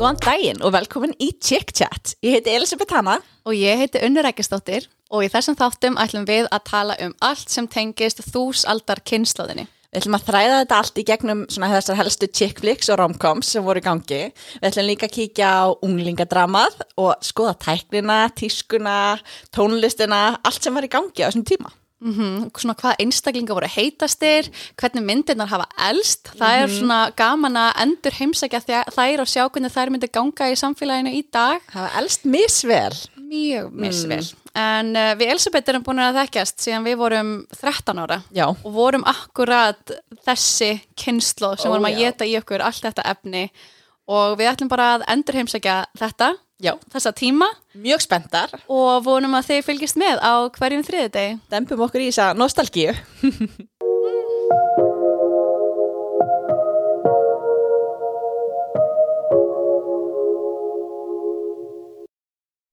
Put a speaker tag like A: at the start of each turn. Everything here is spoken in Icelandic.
A: Góðan daginn og velkomin í Chick Chat. Ég heiti Elisabeth Hanna.
B: og ég heiti Unnur Ekkistóttir og í þessum þáttum ætlum við að tala um allt sem tengist þúsaldar kynslaðinni.
A: Við ætlum að þræða þetta allt í gegnum svona þessar helstu chick flicks og romcoms sem voru í gangi. Við ætlum líka að kíkja á unglingadramað og skoða tæknina, tískuna, tónlistina, allt sem var í gangi á þessum tíma.
B: Mm Svona hvað einstaklinga voru heitastir, hvernig myndirnar hafa elst, það
A: Mhm.
B: er svona gaman að endur heimsækja þjá- þær og sjá hvernig þær myndir ganga í samfélaginu í dag.
A: Það var elst misvel.
B: Mjög misvel. En uh, við Elisabeth erum búin að þekkjast síðan við vorum 13 ára
A: Já.
B: og vorum akkurat þessi kynslo sem
A: Ó,
B: vorum að
A: já.
B: geta í okkur allt þetta efni og við ætlum bara að endur heimsækja þetta
A: Já.
B: þessa tíma
A: Mjög spenntar.
B: og vonum að þið fylgist með á hverjum þriðidegi.
A: Dembum okkur í þessa nostalgíu.